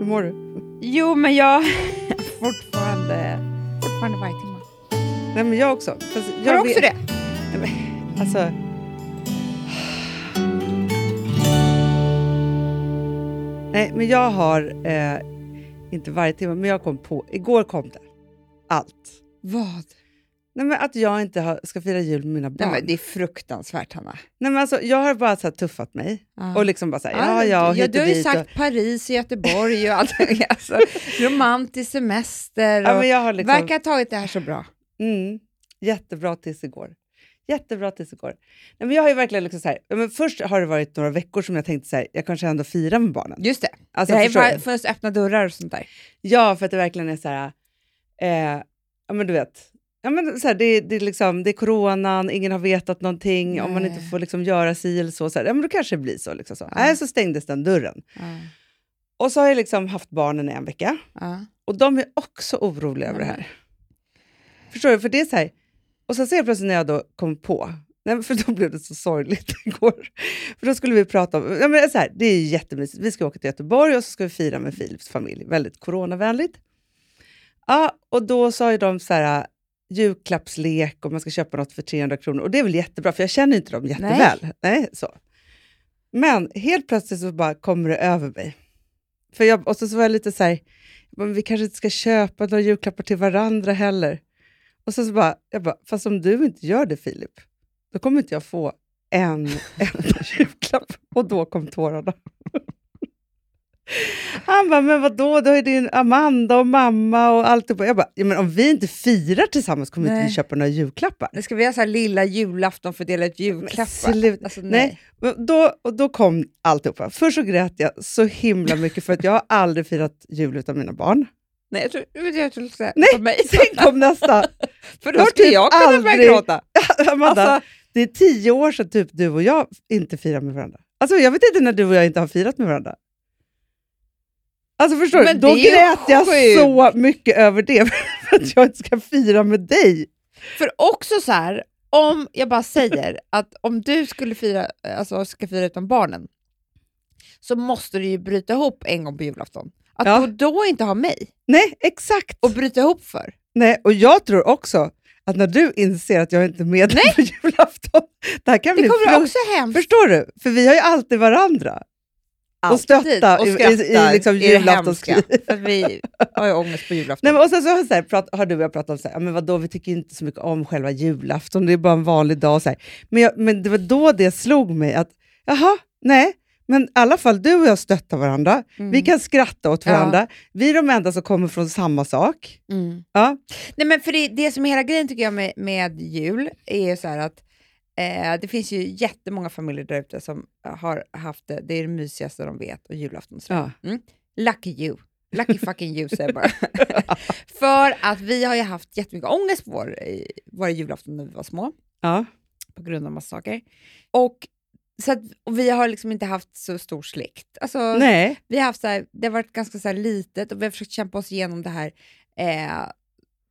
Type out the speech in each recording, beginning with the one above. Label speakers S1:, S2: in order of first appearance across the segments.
S1: mår du?
S2: Jo, men jag fortfarande, fortfarande varje timme.
S1: Nej, men jag också. Fast jag
S2: Har du också det?
S1: Alltså, Nej, men jag har, eh, inte varje timme, men jag kom på, igår kom det. Allt.
S2: Vad?
S1: Nej, men att jag inte har, ska fira jul med mina barn.
S2: Nej, men det är fruktansvärt, Hanna.
S1: Nej, men alltså, jag har bara så här tuffat mig
S2: Ja.
S1: och liksom bara så här,
S2: Ja,
S1: ja, ja, och
S2: ja,
S1: hit
S2: Ah. du
S1: och
S2: har ju
S1: dit och-
S2: sagt Paris och Göteborg och allt. alltså, romantisk semester. Och
S1: ja, men jag har liksom,
S2: Verkar ha tagit det här så bra.
S1: mm, jättebra tills igår. Jättebra tills igår. Nej, men jag har ju verkligen liksom så här, ja, men först har det varit några veckor som jag tänkte så här, jag kanske ändå firar med barnen.
S2: Just det.
S1: Alltså,
S2: det här är
S1: förstår
S2: bara
S1: du?
S2: först öppna dörrar och sånt där.
S1: Ja, för att det verkligen är så här, eh, ja men du vet, ja, men så här, det, det, är liksom, det är coronan, ingen har vetat någonting, om man inte
S2: Nej.
S1: får liksom göra si eller så, så här, ja men då kanske det blir så. Liksom så.
S2: Ja.
S1: Nej, så stängdes den dörren.
S2: Ja.
S1: Och så har jag liksom haft barnen i en vecka.
S2: Ja.
S1: Och de är också oroliga över det här. Förstår du? För det är så här. Och sen så helt plötsligt när jag då kom på, nej, men för då blev det så sorgligt igår. För då skulle vi prata om, nej, men så här, det är ju jättemysigt, vi ska åka till Göteborg och så ska vi fira med Philips familj, väldigt coronavänligt. Ja, och då sa ju de så här, äh, julklappslek och man ska köpa något för 300 kronor. Och det är väl jättebra, för jag känner ju inte dem jätteväl. Nej. så. Men helt plötsligt så bara kommer det över mig. För jag, och så, så var jag lite så här, men vi kanske inte ska köpa några julklappar till varandra heller. Och sen så bara, jag bara, fast om du inte gör det Filip, då kommer inte jag få en enda julklapp. Och då kom tårarna. Han bara, men vadå, då är din Amanda och mamma och allt. Jag bara, ja, men om vi inte firar tillsammans kommer inte
S2: Nej.
S1: vi köpa några julklappar.
S2: Nu ska vi göra så här lilla julafton för att dela ut julklappar.
S1: sluta.
S2: Alltså, nej.
S1: Nej. Men Då, och då kom alltihopa. Först så grät jag så himla mycket för att jag har aldrig firat jul utan mina barn.
S2: Nej, jag tror jag tror du skulle
S1: Nej,
S2: säga på mig.
S1: Sen kom nästa.
S2: För då skulle
S1: typ
S2: jag kunna börja
S1: aldrig-
S2: gråta.
S1: Amanda,
S2: Alltså,
S1: det är tio år sedan typ du och jag inte firar med varandra. Alltså jag vet inte när du och jag inte har firat med varandra. Alltså förstår du?
S2: Men
S1: Då
S2: det är ju
S1: grät jag
S2: sjukt.
S1: så mycket över det för att jag inte ska fira med dig.
S2: för också så här, om jag bara säger att om du skulle fira, alltså, ska fira utan barnen, så måste du ju bryta ihop en gång på julafton. Att
S1: Ja.
S2: då, då inte ha mig
S1: Nej, exakt.
S2: och bryta ihop för.
S1: Nej, och jag tror också att när du inser att jag inte är med dig på julafton, det här kan
S2: Det
S1: bli
S2: kommer
S1: fruktansvärt.
S2: också hemskt.
S1: Förstår du? För vi har ju alltid varandra. Och stötta
S2: och
S1: i- i- i
S2: skrattar
S1: liksom
S2: det
S1: julaftonskris.
S2: hemska, För vi har ju ångest på julafton.
S1: Nej, men och sen så har, så här, prat, har du och jag pratat om så här, "Ja, men vadå, vi tycker ju inte så mycket om själva julafton, det är bara en vanlig dag. Och så här. Men, jag, men det var då det slog mig att, jaha, nej, men i alla fall du och jag stöttar varandra.
S2: Mm,
S1: Vi kan skratta åt
S2: Ja.
S1: varandra. Vi är de enda som kommer från samma sak.
S2: Mm.
S1: Ja.
S2: Nej, men för det, det som är hela grejen tycker jag med, med jul är ju så här att eh, det finns ju jättemånga familjer där ute som har haft det, det är det mysigaste de vet, och julafton. Ja.
S1: Ja.
S2: Lucky you. Lucky fucking you säger jag bara. för att vi har ju haft jättemycket ångest på vår, eh, våra julafton när vi var små
S1: Ja.
S2: på grund av massa saker. Och, så att, och vi har liksom inte haft så stor släkt. Alltså,
S1: Nej.
S2: vi har haft så här, det har varit ganska så här litet och vi har försökt kämpa oss igenom det här eh,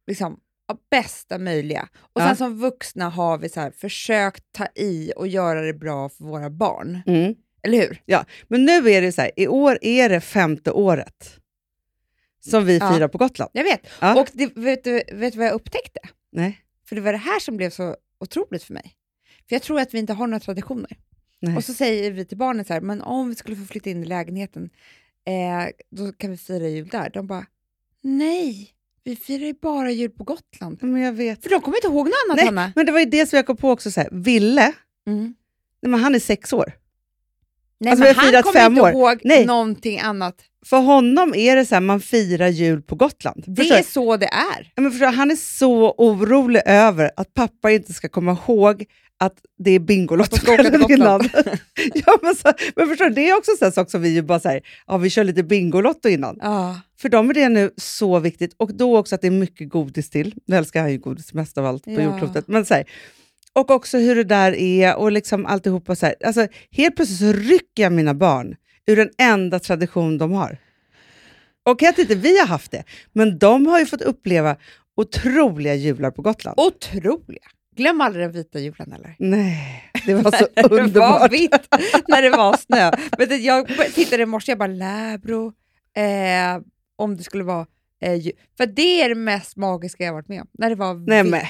S2: liksom, av bästa möjliga. Och
S1: Ja.
S2: sen som vuxna har vi så här, försökt ta i och göra det bra för våra barn.
S1: Mm.
S2: Eller hur?
S1: Men nu är det så här, i år är det femte året som vi
S2: Ja.
S1: firar på Gotland.
S2: Jag vet.
S1: Ja.
S2: Och det, vet, du, vet du vad jag upptäckte?
S1: Nej.
S2: För det var det här som blev så otroligt för mig. För jag tror att vi inte har några traditioner.
S1: Nej.
S2: Och så säger vi till barnen så här, men om vi skulle få flytta in i lägenheten, eh, då kan vi fira jul där. De bara, nej, vi firar ju bara jul på Gotland.
S1: Men jag vet.
S2: För de kommer inte ihåg något annat,
S1: Nej.
S2: Hanna.
S1: Men det var ju det som jag kom på också, så här, Ville,
S2: Mm.
S1: nej, men han är sex år.
S2: Nej,
S1: Alltså, vi
S2: men
S1: har
S2: han
S1: firat
S2: kommer
S1: fem
S2: inte
S1: år.
S2: ihåg
S1: Nej.
S2: någonting annat.
S1: För honom är det så här, man firar jul på Gotland.
S2: Det
S1: Förstår
S2: är
S1: du?
S2: så det är.
S1: Ja, men förstår, du? han är så orolig över att pappa inte ska komma ihåg att det är Bingolotto
S2: Att de ska åka till
S1: kvällen
S2: Gotland.
S1: innan. ja, men, så, men förstår du, det är också en sån sak som vi ju bara så här, ja, vi kör lite Bingolotto innan.
S2: Ja.
S1: För dem är det nu så viktigt. Och då också att det är mycket godis till. Nu älskar han ju godis mest av allt på
S2: Ja.
S1: jordklotet. Men så här, och också hur det där är och liksom alltihopa. Så här. Alltså, helt plötsligt så rycker jag mina barn ur den enda tradition de har. Och att inte vi har haft det, men de har ju fått uppleva otroliga jular på Gotland.
S2: Otroliga. Glöm aldrig den vita julen heller.
S1: Nej, det var så
S2: Det var
S1: underbart.
S2: vitt när det var snö. Men det, jag tittade i morse, jag bara Läbro, eh, om det skulle vara eh, ju- För det är det mest magiska jag varit med om, när det var
S1: Nej,
S2: vitt.
S1: men-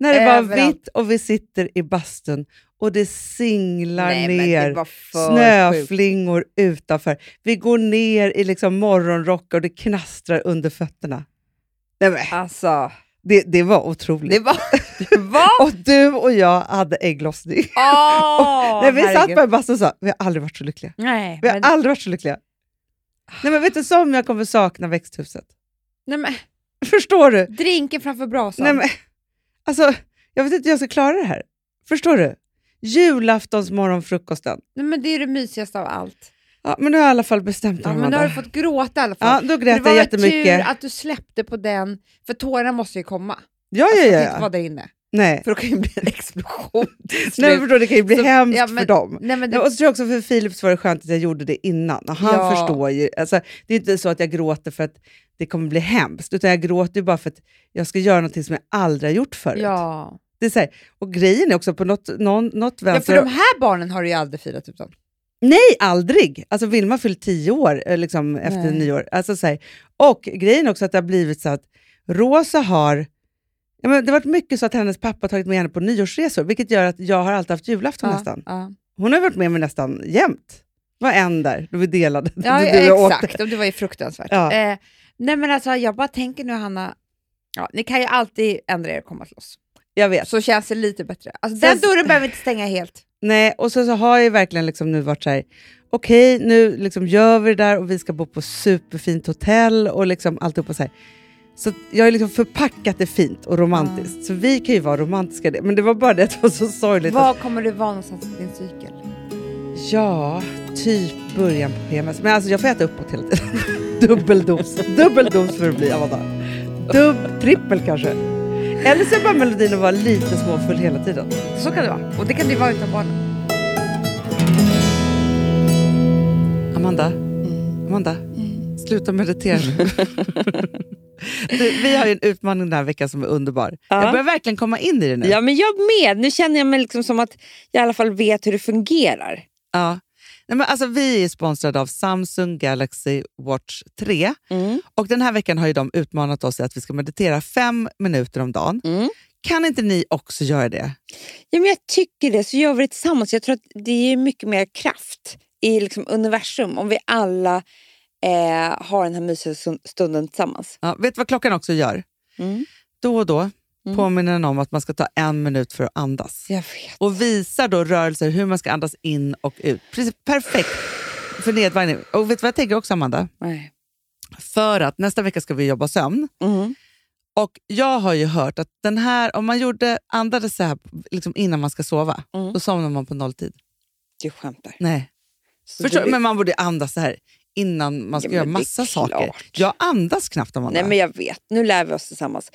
S1: När det var
S2: Överallt.
S1: vitt och vi sitter i bastun och det singlar
S2: Nej, men
S1: ner.
S2: det var för sjukt.
S1: snöflingor utanför. Vi går ner i liksom morgonrock och det knastrar under fötterna. Nej, men,
S2: Alltså,
S1: det, det var otroligt.
S2: det var... Det var
S1: Och du och jag hade ägglossning.
S2: Åh,
S1: Nej, vi satt
S2: herregud.
S1: på en bastu och sa, vi har aldrig varit så lyckliga.
S2: Nej,
S1: Vi har
S2: men,
S1: aldrig varit så lyckliga. Nej, men vet du, som jag kommer sakna växthuset.
S2: nej, men,
S1: Förstår du?
S2: drinken framför brasan.
S1: Nej, men, alltså, jag vet inte hur jag ska klara det här. Förstår du? Julaftonsmorgonfrukosten.
S2: Nej, men det är det mysigaste av allt.
S1: Ja, men nu har jag i alla fall bestämt mig,
S2: Ja, men nu
S1: Amanda.
S2: har du fått gråta i alla fall.
S1: Ja, då
S2: Men det
S1: grät
S2: var
S1: jag
S2: väl
S1: jättemycket.
S2: tur att du släppte på den, för tårarna måste ju komma.
S1: Ja, ja,
S2: Alltså,
S1: ja.
S2: att inte
S1: ja.
S2: vara där inne.
S1: Nej.
S2: För då kan ju bli en explosion till
S1: Nej, men
S2: slut.
S1: förstår, du, det kan ju bli
S2: Så-
S1: hemskt
S2: ja, men-
S1: för dem.
S2: Nej, men det,
S1: Ja, Och så tror jag också för Philips var det skönt att jag gjorde det innan. Och han
S2: Ja.
S1: förstår ju. Alltså, det är inte så att jag gråter för att det kommer bli hemskt, utan jag gråter ju bara för att jag ska göra någonting som jag aldrig har gjort förut.
S2: ja.
S1: Det är så här. Och grejen är också på något, någon, något
S2: ja,
S1: vänster...
S2: för de här barnen har du ju aldrig firat utan.
S1: Nej, aldrig! Alltså Vilma fyllt tio år eh, liksom, efter
S2: Nej.
S1: nyår. Alltså, så här. Och grejen är också att det har blivit så att Rosa har... Ja, men det har varit mycket så att hennes pappa har tagit med henne på nyårsresor, vilket gör att jag har alltid haft julafton
S2: Ja,
S1: nästan.
S2: ja.
S1: Hon har varit med mig nästan jämt. Det var en där, då vi delade.
S2: Ja,
S1: Då du och jag åkte.
S2: exakt, och det var ju fruktansvärt.
S1: Ja.
S2: Eh, nej men alltså jag bara tänker nu Hanna, ja, ni kan ju alltid ändra er och komma loss.
S1: Jag vet.
S2: Så känns det lite bättre. Alltså,
S1: Sen-
S2: den dörren behöver vi inte stänga helt.
S1: Nej, och så, så har jag ju verkligen liksom nu varit så här, okej nu liksom gör vi det där och vi ska bo på superfint hotell och liksom alltihopa så här. Så att jag har liksom förpackat det fint och romantiskt. Så vi kan ju vara romantiska i det. Men det var bara det att det var så sorgligt. att-
S2: Var kommer du vara någonstans i din cykel?
S1: Ja, typ början på PMS. Men alltså jag får äta uppåt hela tiden. Dubbel dos. Dubbel dos för att bli Amanda. Dubb, trippel kanske. Eller så är bara melodin att vara lite småfull hela tiden.
S2: Så kan det vara, och det kan det vara utan barnen.
S1: Amanda, Amanda, sluta meditera nu. Du, Vi har ju en utmaning den här veckan som är underbar.
S3: Ja.
S1: Jag börjar verkligen komma in i det nu.
S3: Ja, men jag med. Nu känner jag mig liksom som att jag i alla fall vet hur det fungerar.
S1: Ja. Nej, men alltså, vi är sponsrade av Samsung Galaxy Watch 3.
S3: Mm.
S1: Och Den här veckan har ju de utmanat oss i att vi ska meditera fem minuter om dagen.
S3: Mm.
S1: Kan inte ni också göra det?
S3: Ja, men jag tycker det, så gör vi det tillsammans. Jag tror att det ger mycket mer kraft i liksom universum om vi alla eh, har den här mysiga stund- stunden tillsammans.
S1: Ja, vet du vad klockan också gör?
S3: Mm.
S1: Då och då
S3: Mm.
S1: påminner den om att man ska ta en minut för att andas.
S3: Jag vet.
S1: och visar då rörelser hur man ska andas in och ut. Precis, perfekt för nedvagning. Och vet du vad jag tänker också, Amanda?
S3: Nej.
S1: För att nästa vecka ska vi jobba sömn.
S3: Mm.
S1: Och jag har ju hört att den här, om man gjorde, andades så här liksom innan man ska sova,
S3: Mm.
S1: då somnar man på nolltid.
S3: Du skämtar.
S1: Nej.
S3: Så
S1: Förstår,
S3: du-
S1: men man borde andas så här innan man ska
S3: Ja, men
S1: göra
S3: det är
S1: massa saker.
S3: klart.
S1: Jag andas knappt, Amanda.
S3: Nej, men jag vet. Nu lär vi oss tillsammans.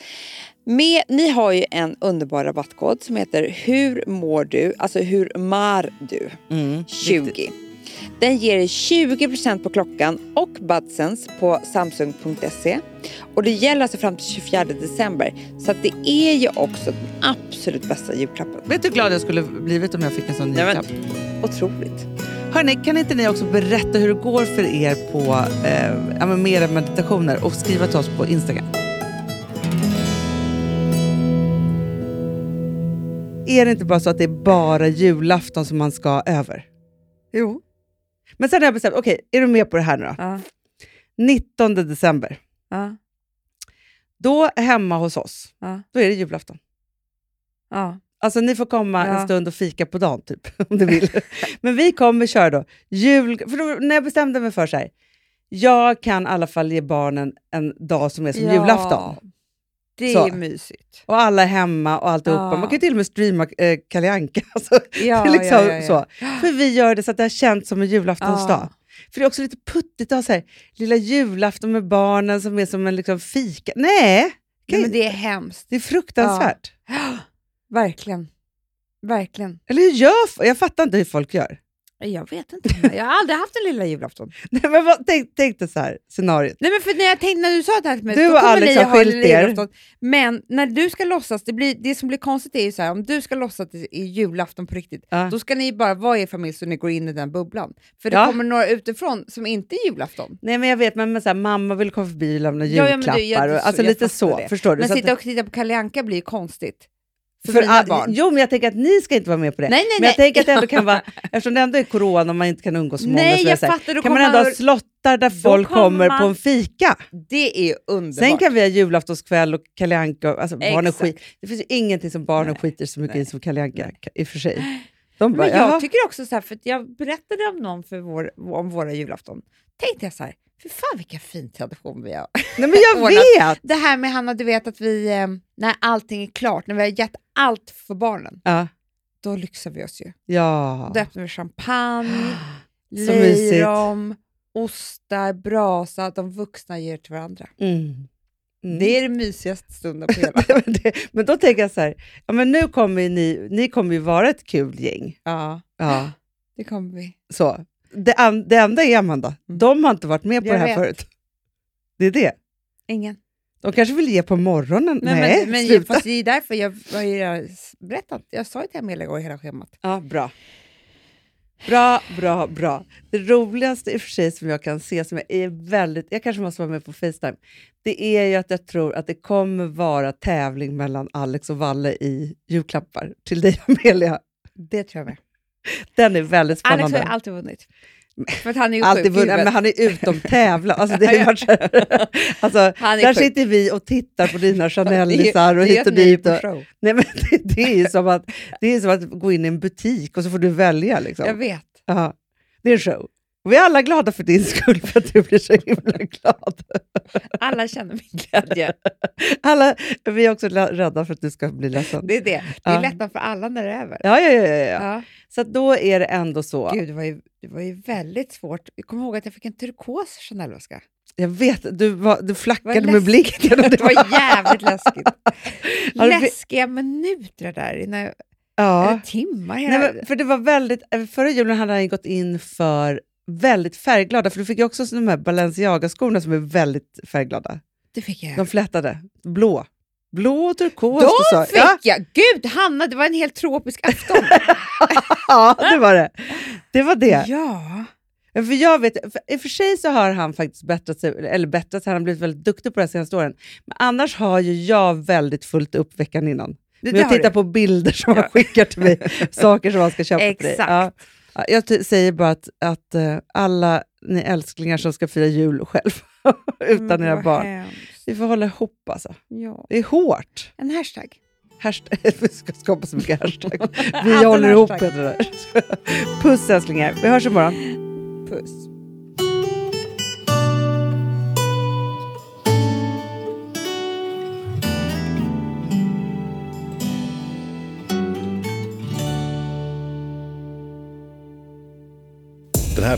S3: Med, ni har ju en underbar rabattkod som heter Hur mår du? Alltså hur mår du?
S1: mm,
S3: 20.
S1: riktigt.
S3: Den ger er 20% på klockan och Budsense på Samsung.se. Och det gäller alltså fram till 24 december. Så att det är ju också den absolut bästa julklappen.
S1: Vet du hur glad jag skulle blivit om jag fick en sån
S3: Nej, men-
S1: julklapp?
S3: Otroligt.
S1: Hörni, kan inte ni också berätta hur det går för er på eh, ja, men med era meditationer och skriva till oss på Instagram? Är det inte bara så att det är bara julafton som man ska över?
S2: Jo.
S1: Men sen har jag bestämt, okej, är du med på det här nu då?
S2: Ja.
S1: 19 december,
S2: Ja.
S1: då hemma hos oss,
S2: Ja.
S1: då är det julafton.
S2: Ja.
S1: Alltså ni får komma
S2: Ja.
S1: en stund och fika på dagen typ, om du vill. Men vi kommer köra då jul... För då, när jag bestämde mig för så här, jag kan i alla fall ge barnen en dag som är som
S2: Ja.
S1: julafton.
S2: Det
S1: Så.
S2: är mysigt.
S1: Och alla är hemma och alltihopa.
S2: Ja.
S1: Man kan ju till och med streama eh, Kalle Anka. Alltså,
S2: Ja,
S1: det är liksom
S2: ja, ja, ja.
S1: Så. För vi gör det så att det har känts som en julaftonsdag.
S2: Ja.
S1: För det är också lite puttigt att ha så här, lilla julafton med barnen som är som en liksom fika. Nej,
S2: Nej, men det är hemskt.
S1: det är fruktansvärt.
S2: Verkligen. Verkligen.
S1: Eller hur gör f- Jag fattar inte hur folk gör.
S2: Jag vet inte. Jag har aldrig haft en lilla julafton.
S1: Nej, men vad, tänk, tänk dig så här, scenariot.
S2: Nej, men för när jag tänkte när du sa det här till mig,
S1: Du
S2: då
S1: och
S2: kommer
S1: Alex
S2: Li
S1: har
S2: ha en
S1: skilt
S2: lilla
S1: er.
S2: julafton. Men när du ska låtsas, det, blir, det som blir konstigt är ju så här, om du ska låtsas att det är julafton på riktigt,
S1: Ja.
S2: då ska ni bara vara i er familj så ni går in i den bubblan. För det
S1: Ja.
S2: kommer några utifrån som inte är julafton.
S1: Nej, men jag vet, men, men så här, mamma vill komma förbi och lämna
S2: Ja, ja, men du,
S1: julklappar.
S2: jag-
S1: och,
S2: så-
S1: alltså
S2: jag
S1: lite
S2: fattar
S1: så,
S2: det.
S1: förstår du?
S2: Men
S1: Så att-
S2: sitta och titta på Kalle Anka blir ju konstigt. För,
S1: För
S2: mina
S1: all-
S2: barn.
S1: Jo, men jag tänker att ni ska inte vara med på det.
S2: Nej, nej,
S1: men jag
S2: nej.
S1: tänker att det ändå kan vara, eftersom det ändå är corona och man inte kan umgås så många,
S2: Nej,
S1: så är
S2: jag
S1: det så här,
S2: fattar. Då
S1: kan man ändå ha slottar där
S2: Då
S1: folk
S2: kommer
S1: kommer på
S2: man-
S1: en fika.
S2: Det är underbart.
S1: Sen kan vi ha julaftonskväll och Kalle Anka. och- Alltså, barnen
S2: Exakt.
S1: skit, det finns ju ingenting som barnen skiter så mycket i som Kalle Anka, i och för sig. De bara,
S2: Men jag
S1: jag
S2: tycker också så här, för att jag berättade om någon för vår, om våra julafton. Tänkte jag så här, för fan vilken fin tradition vi har.
S1: Nej, men jag
S2: ordnat.
S1: vet!
S2: Det här med Hanna, du vet att vi, eh, när allting är klart, när vi har gett allt för barnen,
S1: Ja.
S2: då lyxar vi oss ju.
S1: ja.
S2: Då öppnar vi champagne,
S1: Så mysigt.
S2: lejrom, ostar, brasa, de vuxna ger till varandra.
S1: Mm. Mm.
S2: Det är den mysigaste stunden på hela.
S1: men, det, men då tänker jag så här, ja, men nu kommer ju ni, ni kommer ju vara ett kul gäng.
S2: ja,
S1: Ja.
S2: det kommer vi.
S1: Så. Det, an, det enda är Amanda, de har inte varit med på
S2: Mm.
S1: det här
S2: Jag vet.
S1: förut. Det är det.
S2: Ingen.
S1: De kanske vill ge på morgonen. Nej,
S2: men, men,
S1: sluta.
S2: Fast det är därför jag har ju redan berättat. Jag sa ju till Amelia igår hela schemat.
S1: Ja, bra. Bra, bra, bra. Det roligaste i och för sig som jag kan se, som jag är väldigt... Jag kanske måste vara med på Facetime. Det är ju att jag tror att det kommer vara tävling mellan Alex och Valle i julklappar till dig, Amelia.
S2: Det tror jag med.
S1: Den är väldigt spännande.
S2: Alex har ju alltid vunnit. För att han är ju
S1: Alltid
S2: sjuk i
S1: vunnit, men
S2: huvudet.
S1: han är utom tävlan. Alltså, det är varit, alltså,
S2: Han är
S1: där
S2: sjuk.
S1: sitter vi och tittar på dina Chanellisar
S2: Det
S1: och
S2: är
S1: hit och
S2: att ni är
S1: dit.
S2: på
S1: Och,
S2: show.
S1: nej, men det, det, är ju som att, det är som att gå in i en butik och så får du välja. Liksom.
S2: Jag vet.
S1: Ja, det är en show. Och vi är alla glada för din skull, för att du blir så himla glad.
S2: Alla känner min glädje.
S1: Alla, vi är också la- rädda för att du ska bli ledsen.
S2: Det är det. Det är
S1: Ja.
S2: lättnad för alla när det är över.
S1: Ja, ja, ja. ja, ja.
S2: Ja.
S1: Så att då är det ändå så.
S2: Gud, det var, ju, det var ju väldigt svårt. Jag kommer ihåg att jag fick en turkos Chanel-väska.
S1: Jag vet, du, var, du
S2: Vad
S1: flackade med
S2: läskigt.
S1: blicken. genom
S2: Det
S1: det.
S2: var jävligt läskigt.
S1: Har du-
S2: Läskiga minuter där, innan jag,
S1: Ja.
S2: eller timmar.
S1: Nej,
S2: hela-
S1: men, för det var väldigt, eh, förra julen hade han gått in för väldigt färgglada, för du fick ju också de här Balenciaga-skorna som är väldigt färgglada.
S2: det fick jag.
S1: De flätade, blå. Blå och turkos.
S2: De
S1: du sa.
S2: fick
S1: Ja,
S2: jag! Gud, Hanna, det var en helt tropisk afton.
S1: ja, det var det. Det var det.
S2: ja.
S1: Ja, För jag vet, för, I och för sig så har han faktiskt bättrat sig, eller bättrat sig, han har blivit väldigt duktig på det här senaste åren. Men annars har ju jag väldigt fullt upp veckan innan. Men
S2: där
S1: jag
S2: har
S1: tittar
S2: du.
S1: på bilder som
S2: Ja.
S1: han skickar till mig, saker som han ska köpa till dig.
S2: Exakt.
S1: Ja. Ja, Jag ty- säger bara att, att eh, alla ni älsklingar som ska fira jul själv, utan
S2: Men
S1: era
S2: Mm, vad
S1: barn.
S2: hemskt.
S1: Vi får hålla ihop alltså.
S2: Ja.
S1: Det är hårt.
S2: En hashtag.
S1: Hashtag. Vi ska skapa så mycket hashtag. Vi
S2: Alltid
S1: håller
S2: en
S1: ihop
S2: hashtag.
S1: det där. Puss älsklingar, vi hörs imorgon.
S2: Puss.
S4: Den här